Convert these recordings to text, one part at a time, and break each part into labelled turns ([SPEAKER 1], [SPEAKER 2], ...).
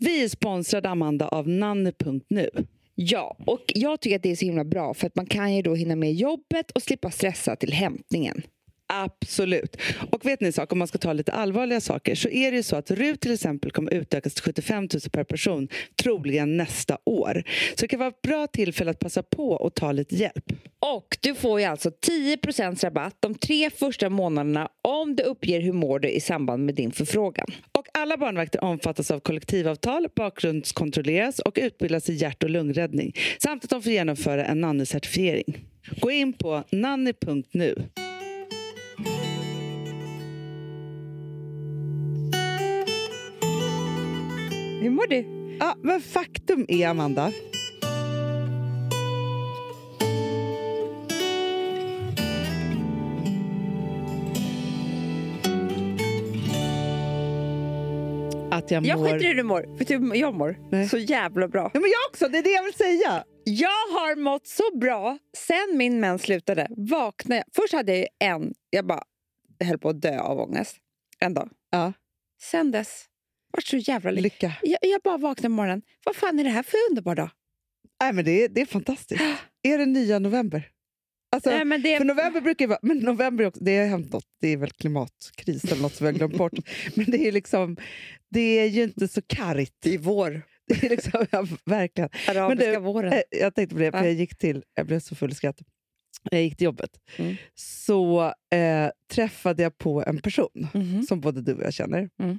[SPEAKER 1] Vi är sponsrade, Amanda, av nanny.nu.
[SPEAKER 2] Ja, och jag tycker att det är så himla bra för att man kan ju då hinna med jobbet och slippa stressa till hämtningen.
[SPEAKER 1] Absolut. Och vet ni en sak, om man ska ta lite allvarliga saker så är det ju så att RUT till exempel kommer utökas till 75 000 per person troligen nästa år. Så det kan vara ett bra tillfälle att passa på och ta lite hjälp.
[SPEAKER 2] Och du får ju alltså 10 rabatt de tre första månaderna om du uppger hur mår du i samband med din förfrågan.
[SPEAKER 1] Och alla barnvakter omfattas av kollektivavtal, bakgrundskontrolleras och utbildas i hjärt och lungräddning samt att de får genomföra en nanny-certifiering. Gå in på nanny.nu.
[SPEAKER 2] Hur mår du?
[SPEAKER 1] Ja, men faktum är, Amanda... Att jag mår...
[SPEAKER 2] Jag skiter i hur du mår. Vet du hur jag mår?
[SPEAKER 1] Nej.
[SPEAKER 2] Så jävla bra.
[SPEAKER 1] Ja, men jag också! Det är det jag vill säga.
[SPEAKER 2] Jag har mått så bra sen min mens slutade. Vaknade jag. Först hade jag ju en, jag bara höll på att dö av ångest. En dag.
[SPEAKER 1] Ja.
[SPEAKER 2] Sen dess, vart så jävla lycklig.
[SPEAKER 1] Lycka.
[SPEAKER 2] Jag, jag bara vaknade på morgonen. Vad fan är det här för underbar dag?
[SPEAKER 1] Nej, men det, är, det är fantastiskt. Är det nya november? Alltså,
[SPEAKER 2] Nej, men det,
[SPEAKER 1] För november brukar ju vara... Men november är också, det har hänt något. Det är väl klimatkris eller något som vi har glömt bort. Men det är ju liksom... Det är ju inte så kargt. Det är vår. Det är liksom, ja, verkligen.
[SPEAKER 2] arabiska
[SPEAKER 1] men du,
[SPEAKER 2] våren.
[SPEAKER 1] Eh, Jag tänkte på det, för
[SPEAKER 2] Ja.
[SPEAKER 1] jag gick till... Jag blev så full i skratt. Jag gick till jobbet.
[SPEAKER 2] Mm.
[SPEAKER 1] Så eh, träffade jag på en person
[SPEAKER 2] Mhm.
[SPEAKER 1] som både du och jag känner.
[SPEAKER 2] Mm.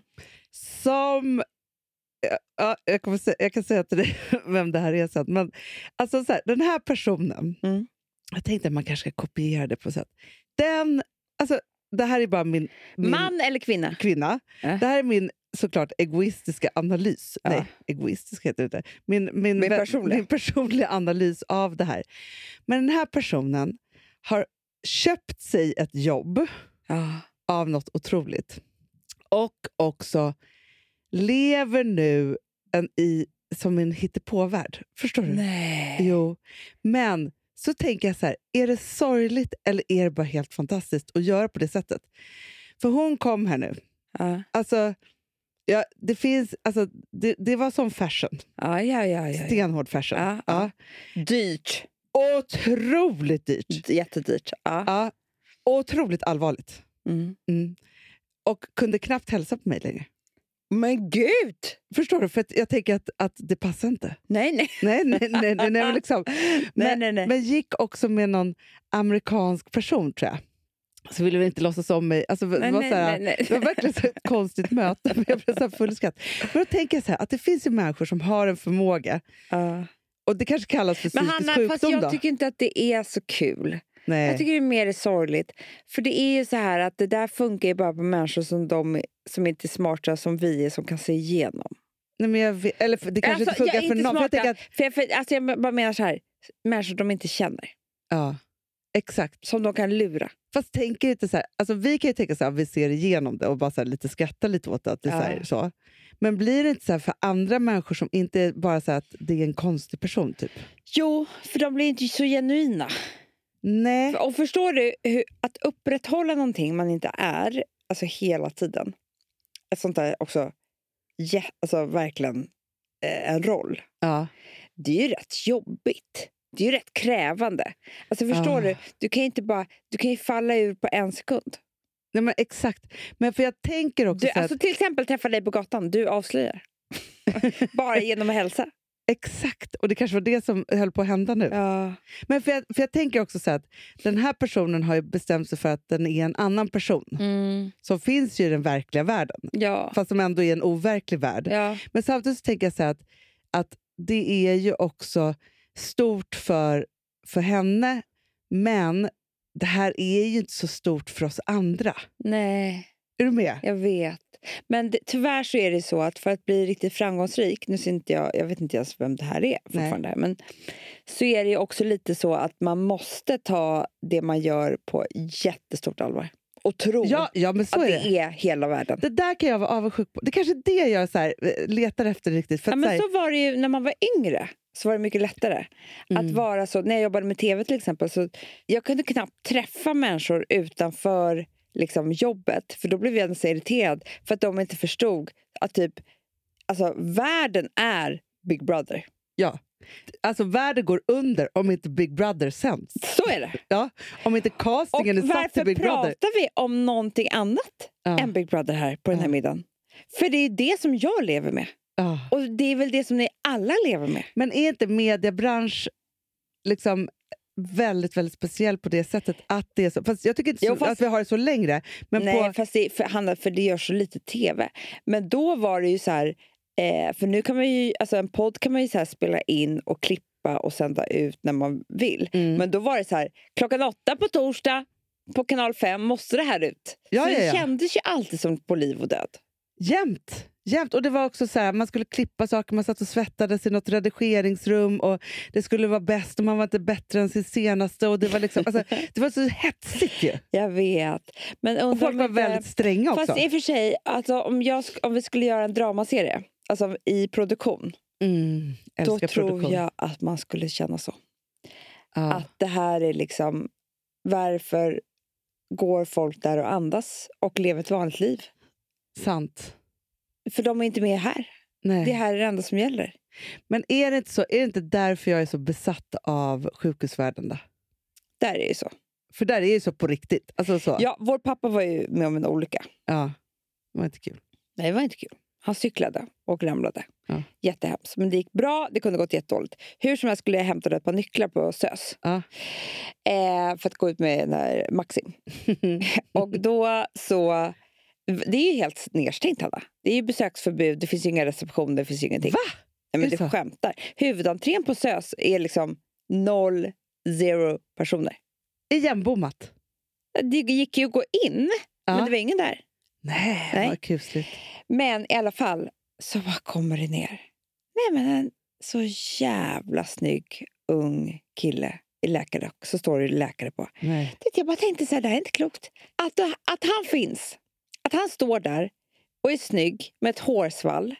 [SPEAKER 1] Som... ja, Ja, jag, kommer sä- jag kan säga till dig vem det här är sen. Men, alltså, så här, den här personen,
[SPEAKER 2] Mm.
[SPEAKER 1] jag tänkte att man kanske ska kopiera det på sätt. Den, alltså, det här är bara min, min
[SPEAKER 2] Mm. Man eller kvinna?
[SPEAKER 1] kvinna.
[SPEAKER 2] Ja.
[SPEAKER 1] Det här är min såklart egoistiska analys.
[SPEAKER 2] Ja.
[SPEAKER 1] Nej, egoistisk heter det inte. Min, min,
[SPEAKER 2] Min
[SPEAKER 1] vän-
[SPEAKER 2] personliga.
[SPEAKER 1] min personliga analys av det här. Men den här personen har köpt sig ett jobb
[SPEAKER 2] Ja.
[SPEAKER 1] av något otroligt. Och också lever nu en i, som en hittepåvärld. Förstår
[SPEAKER 2] Mm.
[SPEAKER 1] du?
[SPEAKER 2] Nej.
[SPEAKER 1] Jo. Men så tänker jag så här, är det sorgligt eller är det bara helt fantastiskt att göra på det sättet? För hon kom här nu.
[SPEAKER 2] Ja.
[SPEAKER 1] Alltså, ja, det, finns, alltså, det, det var som fashion.
[SPEAKER 2] Ja, ja, ja, ja, ja.
[SPEAKER 1] Stenhård fashion.
[SPEAKER 2] Ja, ja. Dyrt.
[SPEAKER 1] Otroligt
[SPEAKER 2] Mm.
[SPEAKER 1] dyrt.
[SPEAKER 2] Jättedyrt. Ja.
[SPEAKER 1] Ja. Otroligt allvarligt.
[SPEAKER 2] Mm.
[SPEAKER 1] Mm. Och kunde knappt hälsa på mig längre.
[SPEAKER 2] Men gud!
[SPEAKER 1] Förstår du? För att jag tänker att, att det passar inte.
[SPEAKER 2] Nej, nej.
[SPEAKER 1] Nej, nej, nej. nej, nej, men, liksom.
[SPEAKER 2] nej,
[SPEAKER 1] men,
[SPEAKER 2] nej, nej.
[SPEAKER 1] men gick också med någon amerikansk person, tror jag. Så ville vi inte låtsas om mig. Alltså, det,
[SPEAKER 2] nej,
[SPEAKER 1] var
[SPEAKER 2] nej,
[SPEAKER 1] så här,
[SPEAKER 2] nej, nej.
[SPEAKER 1] det var verkligen så ett konstigt möte, men jag blev så här full i skratt. Men då tänker jag så här, att det finns ju människor som har en förmåga,
[SPEAKER 2] Ja.
[SPEAKER 1] och det kanske kallas för
[SPEAKER 2] Men
[SPEAKER 1] psykisk
[SPEAKER 2] Hanna, fast
[SPEAKER 1] sjukdom. Då.
[SPEAKER 2] jag tycker inte att det är så kul.
[SPEAKER 1] nej.
[SPEAKER 2] Jag tycker det är mer sorgligt. För det är ju så här att det där funkar ju bara på människor som de som inte är smarta som vi är, som kan se igenom.
[SPEAKER 1] nej, men jag vet, eller för, det kanske
[SPEAKER 2] Alltså,
[SPEAKER 1] inte
[SPEAKER 2] jag är
[SPEAKER 1] funkar för
[SPEAKER 2] inte
[SPEAKER 1] någon. för Jag
[SPEAKER 2] smarta.
[SPEAKER 1] tänker att,
[SPEAKER 2] För jag, för, alltså jag bara menar så här, människor de inte känner,
[SPEAKER 1] ja, exakt.
[SPEAKER 2] som de kan lura.
[SPEAKER 1] Fast tänker inte så här, alltså vi kan ju tänka så här, vi ser igenom det och bara så här, lite skratta lite åt det. Att det är så här,
[SPEAKER 2] Ja.
[SPEAKER 1] så. Men blir det inte så här för andra människor som inte är bara så här att det är en konstig person? typ?
[SPEAKER 2] Jo, för de blir inte så genuina.
[SPEAKER 1] Nej.
[SPEAKER 2] Och förstår du, hur, att upprätthålla någonting man inte är, alltså hela tiden. Ett sånt där också, ja, alltså verkligen eh, en roll.
[SPEAKER 1] Ja.
[SPEAKER 2] Det är ju rätt jobbigt. Det är ju rätt krävande. Alltså förstår
[SPEAKER 1] Ah.
[SPEAKER 2] du, du kan ju inte bara, du kan ju falla ur på en sekund.
[SPEAKER 1] Nej, men exakt. Men för jag tänker också
[SPEAKER 2] Du,
[SPEAKER 1] så här,
[SPEAKER 2] alltså till exempel träffa dig på gatan, du avslöjar. bara genom att hälsa.
[SPEAKER 1] exakt, och det kanske var det som höll på att hända nu.
[SPEAKER 2] Ja.
[SPEAKER 1] Men för jag, för jag tänker också så här, att den här personen har ju bestämt sig för att den är en annan person som finns ju i den verkliga världen,
[SPEAKER 2] Mm. Ja.
[SPEAKER 1] fast som ändå är en overklig värld.
[SPEAKER 2] ja.
[SPEAKER 1] Men samtidigt så tänker jag så här att, att det är ju också stort för, för henne, men det här är ju inte så stort för oss andra.
[SPEAKER 2] Nej.
[SPEAKER 1] Är du med?
[SPEAKER 2] Jag vet. Men det, tyvärr så är det så att för att bli riktigt framgångsrik, nu ser inte jag, jag vet inte ens vem det här är fortfarande, men så är det ju också lite så att man måste ta det man gör på jättestort allvar. Och tro
[SPEAKER 1] Ja, ja men så
[SPEAKER 2] att
[SPEAKER 1] är
[SPEAKER 2] det
[SPEAKER 1] det.
[SPEAKER 2] är, hela världen.
[SPEAKER 1] Det där kan jag vara avundsjuk på. Det är kanske är det jag så här, eh, letar efter riktigt. För
[SPEAKER 2] Ja,
[SPEAKER 1] att, så
[SPEAKER 2] men
[SPEAKER 1] här,
[SPEAKER 2] så var det ju när man var yngre. Så var det mycket lättare. Att
[SPEAKER 1] Mm.
[SPEAKER 2] vara så, när jag jobbade med tv till exempel, så jag kunde knappt träffa människor utanför liksom, jobbet. För då blev jag så irriterad för att de inte förstod att typ alltså världen är Big Brother.
[SPEAKER 1] Alltså världen går under om inte Big Brother sänds.
[SPEAKER 2] Så är det.
[SPEAKER 1] Ja, om inte
[SPEAKER 2] Och
[SPEAKER 1] castingen är satt
[SPEAKER 2] varför
[SPEAKER 1] till Big Brother.
[SPEAKER 2] pratar vi om någonting annat
[SPEAKER 1] Ja.
[SPEAKER 2] än Big Brother här på den här
[SPEAKER 1] Ja.
[SPEAKER 2] middagen? För det är det som jag lever med.
[SPEAKER 1] Ja.
[SPEAKER 2] Och det är väl det som ni alla lever med.
[SPEAKER 1] Men är inte mediebransch liksom väldigt, väldigt speciell på det sättet att det är så? Fast jag tycker inte
[SPEAKER 2] Jo,
[SPEAKER 1] så,
[SPEAKER 2] fast-
[SPEAKER 1] att vi har det så längre. Men
[SPEAKER 2] Nej,
[SPEAKER 1] på,
[SPEAKER 2] fast det, för, Hanna, för det görs så lite tv. Men då var det ju så här... Eh, för nu kan man ju... Alltså en podd kan man ju så här spela in och klippa och sända ut när man vill.
[SPEAKER 1] Mm.
[SPEAKER 2] Men då var det så här... Klockan åtta på torsdag på kanal 5 måste det här ut.
[SPEAKER 1] Ja,
[SPEAKER 2] så
[SPEAKER 1] ja,
[SPEAKER 2] det
[SPEAKER 1] ja.
[SPEAKER 2] kändes ju alltid som på liv och död.
[SPEAKER 1] jämt, jämt. Och det var också så här, man skulle klippa saker, man satt och svettades i något redigeringsrum och det skulle vara bäst och man var inte bättre än sin senaste. Och det, var liksom, alltså, det var så hetsigt ju.
[SPEAKER 2] Jag vet. Men undrar
[SPEAKER 1] Och
[SPEAKER 2] om
[SPEAKER 1] folk var
[SPEAKER 2] inte-
[SPEAKER 1] väldigt stränga också.
[SPEAKER 2] Fast i och för sig, alltså, om, jag, sk- om vi skulle göra en dramaserie alltså, i produktion,
[SPEAKER 1] Mm,
[SPEAKER 2] då
[SPEAKER 1] älskar
[SPEAKER 2] tror
[SPEAKER 1] produktion.
[SPEAKER 2] jag att man skulle känna så.
[SPEAKER 1] Ja.
[SPEAKER 2] Att det här är liksom... Varför går folk där och andas och lever ett vanligt liv?
[SPEAKER 1] Sant.
[SPEAKER 2] För de är inte med här.
[SPEAKER 1] Nej.
[SPEAKER 2] Det här är det enda som gäller.
[SPEAKER 1] Men är det, inte så, är det inte därför jag är så besatt av sjukhusvärlden? Då?
[SPEAKER 2] Där är det ju så.
[SPEAKER 1] För där är det ju så på riktigt. Alltså så.
[SPEAKER 2] Ja, vår pappa var ju med om en olycka.
[SPEAKER 1] Ja. Det var inte kul.
[SPEAKER 2] Nej, det var inte kul. Han cyklade och ramlade.
[SPEAKER 1] Ja.
[SPEAKER 2] Jättehemskt. Men det gick bra, det kunde gått jättedåligt. Hur som helst skulle jag hämta ett par nycklar på SÖS.
[SPEAKER 1] Ja.
[SPEAKER 2] Eh, för att gå ut med den här Maxim. och då så... Det är ju helt nedstängt, Hanna. Det är ju besöksförbud, det finns ju inga receptioner, det finns ju ingenting.
[SPEAKER 1] Va?
[SPEAKER 2] Nej,
[SPEAKER 1] Är
[SPEAKER 2] men
[SPEAKER 1] det
[SPEAKER 2] du
[SPEAKER 1] så?
[SPEAKER 2] skämtar. Huvudentrén på SÖS är liksom noll, zero personer.
[SPEAKER 1] Igenbommat?
[SPEAKER 2] Det gick ju att gå in,
[SPEAKER 1] Ja.
[SPEAKER 2] men det var ingen där.
[SPEAKER 1] Nej,
[SPEAKER 2] Nej.
[SPEAKER 1] vad kusligt.
[SPEAKER 2] Men i alla fall, så bara kommer det ner. Nej, men en så jävla snygg ung kille i läkarrock. Så står det läkare på.
[SPEAKER 1] Nej.
[SPEAKER 2] Du vet, Jag bara tänkte så här, det här är inte klokt. Att, att han finns. Att han står där och är snygg med ett hårsvall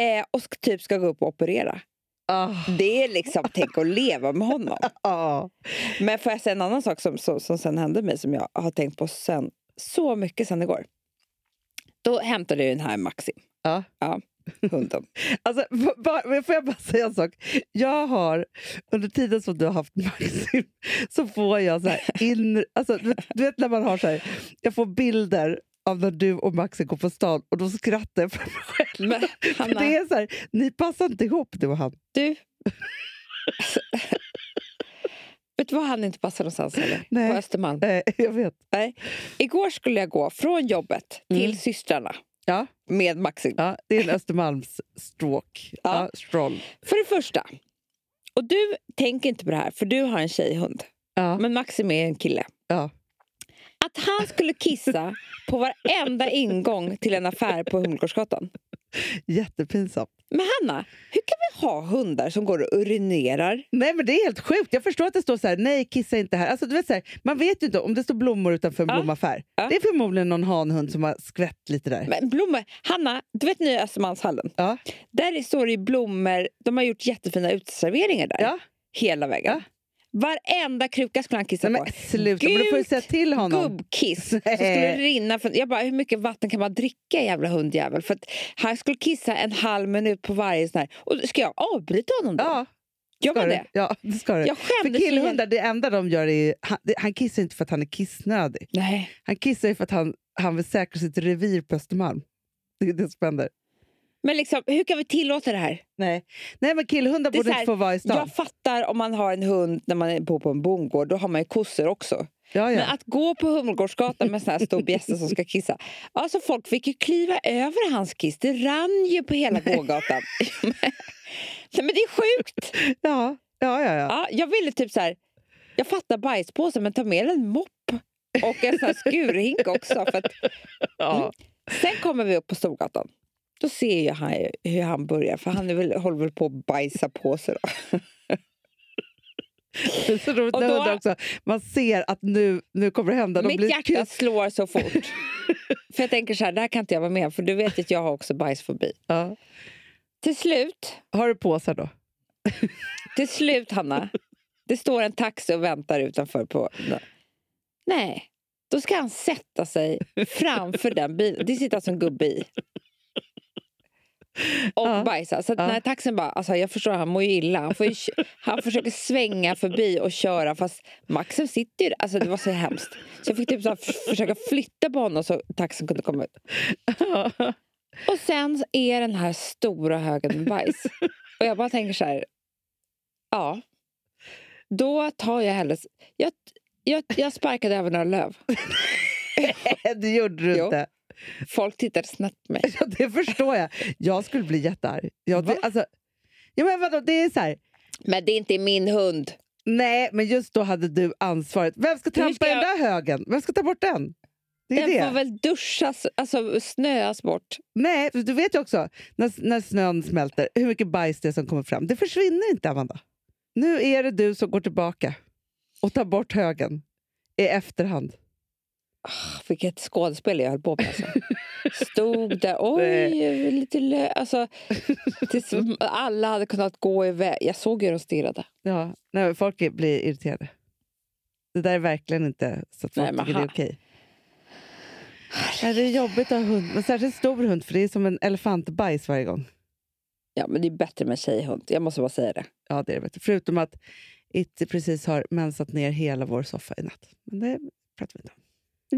[SPEAKER 2] eh, och sk- typ ska gå upp och operera.
[SPEAKER 1] Ah.
[SPEAKER 2] Det är liksom, tänk att leva med honom.
[SPEAKER 1] Ah.
[SPEAKER 2] Men får jag säga en annan sak som, som, som sen hände mig som jag har tänkt på sen, så mycket sen igår. Då hämtade jag den här Maxim,
[SPEAKER 1] Ja.
[SPEAKER 2] hunden.
[SPEAKER 1] Alltså, b- bara, men får jag bara säga en sak? Jag har, under tiden som du har haft Maxim, så får jag så här inre... Alltså, du, vet- du vet när man har så här, jag får bilder av när du och Maxim går på stan och då skrattar jag för mig själv.
[SPEAKER 2] Men,
[SPEAKER 1] För
[SPEAKER 2] Hanna,
[SPEAKER 1] det är så här, ni passar inte ihop du och han.
[SPEAKER 2] du... Alltså, Vet du vad han inte passar någonstans heller?
[SPEAKER 1] Nej.
[SPEAKER 2] På Östermalm.
[SPEAKER 1] Eh, jag vet.
[SPEAKER 2] Igår skulle jag gå från jobbet till
[SPEAKER 1] Mm.
[SPEAKER 2] systrarna
[SPEAKER 1] Ja.
[SPEAKER 2] med Maxim.
[SPEAKER 1] Ja, det är en Östermalms stråk.
[SPEAKER 2] Ja.
[SPEAKER 1] Ja, stroll.
[SPEAKER 2] För det första, och du tänker inte på det här för du har en tjejhund.
[SPEAKER 1] Ja.
[SPEAKER 2] Men Maxim är en kille.
[SPEAKER 1] Ja.
[SPEAKER 2] Att han skulle kissa på varenda ingång till en affär på Humlegårdsgatan.
[SPEAKER 1] Jättepinsamt.
[SPEAKER 2] Men Hanna, hur kan vi ha hundar som går och urinerar?
[SPEAKER 1] Nej men det är helt sjukt. Jag förstår att det står så här, nej kissa inte här. Alltså, du vet så här man vet ju inte om det står blommor utanför en
[SPEAKER 2] Ja.
[SPEAKER 1] blomaffär.
[SPEAKER 2] Ja.
[SPEAKER 1] Det är förmodligen någon hanhund som har skvätt lite där.
[SPEAKER 2] Men blommor, Hanna, du vet nya Östermalmshallen?
[SPEAKER 1] Ja.
[SPEAKER 2] Där står det ju blommor. De har gjort jättefina uteserveringar där.
[SPEAKER 1] Ja.
[SPEAKER 2] Hela vägen.
[SPEAKER 1] Ja.
[SPEAKER 2] Varenda kruka skulle han kissa
[SPEAKER 1] Nej, men
[SPEAKER 2] på.
[SPEAKER 1] sluta, men du får ju
[SPEAKER 2] Gult
[SPEAKER 1] säga till honom.
[SPEAKER 2] Gubbkiss. Så skulle det rinna från, jag bara, hur mycket vatten kan man dricka jävla hundjävel? För att han skulle kissa en halv minut på varje sån här. Och ska jag avbryta honom då?
[SPEAKER 1] Ja,
[SPEAKER 2] Gör
[SPEAKER 1] ska
[SPEAKER 2] man
[SPEAKER 1] du.
[SPEAKER 2] det?
[SPEAKER 1] Ja, det ska du.
[SPEAKER 2] Jag
[SPEAKER 1] För
[SPEAKER 2] skämdes så jävla-
[SPEAKER 1] killhundar, det enda de gör är han, det- han kissar inte för att han är kissnödig.
[SPEAKER 2] Nej.
[SPEAKER 1] Han kissar ju för att han, han vill säkra sitt revir på Östermalm. Det är det som händer.
[SPEAKER 2] Men liksom, hur kan vi tillåta det här?
[SPEAKER 1] Nej. Nej, men killhundar
[SPEAKER 2] Det är
[SPEAKER 1] borde
[SPEAKER 2] så här,
[SPEAKER 1] inte få vara i stan.
[SPEAKER 2] Jag fattar om man har en hund när man bor på en bondgård. Då har man ju kossor också.
[SPEAKER 1] Ja, ja.
[SPEAKER 2] Men att gå på Humlegårdsgatan med sån här stor bjässe som ska kissa. Alltså folk fick ju kliva över hans kiss. Det rann ju på hela gågatan. Nej men det är sjukt!
[SPEAKER 1] ja, ja, ja, ja.
[SPEAKER 2] Ja, jag ville typ så här. Jag fattar bajspåsen men ta med en mopp och en sån här skurhink också. För att,
[SPEAKER 1] Ja.
[SPEAKER 2] sen kommer vi upp på Storgatan. Då ser jag han, ju hur han börjar, för han är väl, håller väl på att bajsa på sig. Då.
[SPEAKER 1] Det är så roligt
[SPEAKER 2] Och
[SPEAKER 1] när
[SPEAKER 2] då-
[SPEAKER 1] hundar också. Man ser att nu, nu kommer det hända. De
[SPEAKER 2] Mitt
[SPEAKER 1] blir
[SPEAKER 2] hjärta
[SPEAKER 1] kul.
[SPEAKER 2] slår så fort. för jag tänker så här, det här kan inte jag vara med om, för du vet ju att jag har också bajsfobi.
[SPEAKER 1] Ja.
[SPEAKER 2] Till slut,
[SPEAKER 1] Har du påsar då?
[SPEAKER 2] till slut Hanna, det står en taxi och väntar utanför på... Nej, då ska han sätta sig framför den bilen. Det sitter alltså en gubbe i. och
[SPEAKER 1] Ja.
[SPEAKER 2] bajsa. Så att
[SPEAKER 1] Ja.
[SPEAKER 2] när taxen bara, alltså jag förstår han mår ju illa. Han, får ju, han försöker svänga förbi och köra fast Maxen sitter ju Alltså det var så hemskt. Så jag fick typ så här, f- försöka flytta på honom så taxen kunde komma ut. Och sen är den här stora högen med bajs. Och jag bara tänker så här, ja. Då tar jag hellre... Jag, jag, jag sparkade över några löv.
[SPEAKER 1] det gjorde du
[SPEAKER 2] Eh, Jo.
[SPEAKER 1] inte.
[SPEAKER 2] Folk tittade snett på mig.
[SPEAKER 1] Ja, det förstår jag. Jag skulle bli jättearg. Jag,
[SPEAKER 2] Va?
[SPEAKER 1] det, alltså, ja, men vadå, det är så här.
[SPEAKER 2] Men det är inte min hund.
[SPEAKER 1] Nej, men just då hade du ansvaret. Vem ska trampa
[SPEAKER 2] ska
[SPEAKER 1] i den där högen? Vem ska ta bort den? Det är
[SPEAKER 2] Den
[SPEAKER 1] det.
[SPEAKER 2] får väl duschas, alltså snöas bort.
[SPEAKER 1] Nej, för du vet ju också när, när snön smälter hur mycket bajs det är som kommer fram. Det försvinner inte, Amanda. Nu är det du som går tillbaka och tar bort högen i efterhand.
[SPEAKER 2] Ah, Vilket skådespel jag höll på med. Alltså. Stod där, oj, lite lö... Alltså, tills alla hade kunnat gå iväg. Jag såg ju hur de stirrade.
[SPEAKER 1] Ja, nej, men folk är- blir irriterade. Det där är verkligen inte så att folk
[SPEAKER 2] Nej, men
[SPEAKER 1] tycker det är
[SPEAKER 2] ha-
[SPEAKER 1] okej. Nej, det är jobbigt att ha hund, men särskilt stor hund för det är som en elefantbajs varje gång.
[SPEAKER 2] Ja, men det är bättre med tjejhund. Jag måste bara säga det.
[SPEAKER 1] Ja, det är det. bättre. Förutom att Itti precis har mensat ner hela vår soffa i natt. Men det pratar vi inte om.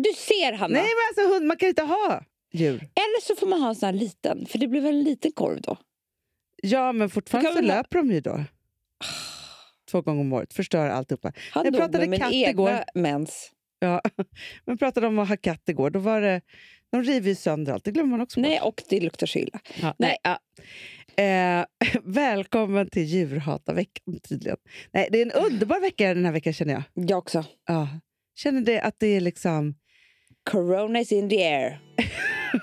[SPEAKER 2] Du ser, Hanna!
[SPEAKER 1] Nej, men alltså hund, man kan inte ha djur.
[SPEAKER 2] Eller så får man ha en sån här liten, för det blir väl en liten korv då? Ah,
[SPEAKER 1] Ja, men fortfarande
[SPEAKER 2] Då
[SPEAKER 1] så
[SPEAKER 2] kan man ha-
[SPEAKER 1] löper de ju då. Två gånger om året, förstör alltihopa.
[SPEAKER 2] Han
[SPEAKER 1] Jag
[SPEAKER 2] dog
[SPEAKER 1] pratade
[SPEAKER 2] med min
[SPEAKER 1] katt
[SPEAKER 2] egna
[SPEAKER 1] igår.
[SPEAKER 2] mens.
[SPEAKER 1] Ja. Men pratade om att ha katt igår, då var det... De river ju sönder allt, det glömmer man också.
[SPEAKER 2] Nej, och det luktar så illa.
[SPEAKER 1] Ja,
[SPEAKER 2] Nej.
[SPEAKER 1] ja. Eh, välkommen till djurhatarveckan tydligen. Nej, det är en underbar vecka den här veckan känner jag.
[SPEAKER 2] Jag också.
[SPEAKER 1] Ja. Känner det att det är liksom...
[SPEAKER 2] Corona is in the air.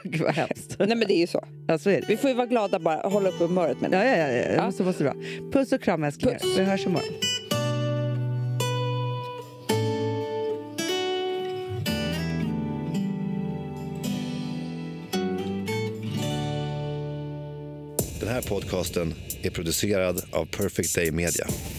[SPEAKER 1] Gud vad hemskt.
[SPEAKER 2] Nej, men det är ju så.
[SPEAKER 1] Ja, så är det.
[SPEAKER 2] Vi får ju vara glada bara, hålla upp humöret med det.
[SPEAKER 1] Ja, ja, ja, ja.
[SPEAKER 2] Ja.
[SPEAKER 1] Så måste det vara. Puss och kram älsklingar.
[SPEAKER 2] Puss.
[SPEAKER 1] Vi hörs imorgon.
[SPEAKER 3] Den här podcasten är producerad av Perfect Day Media.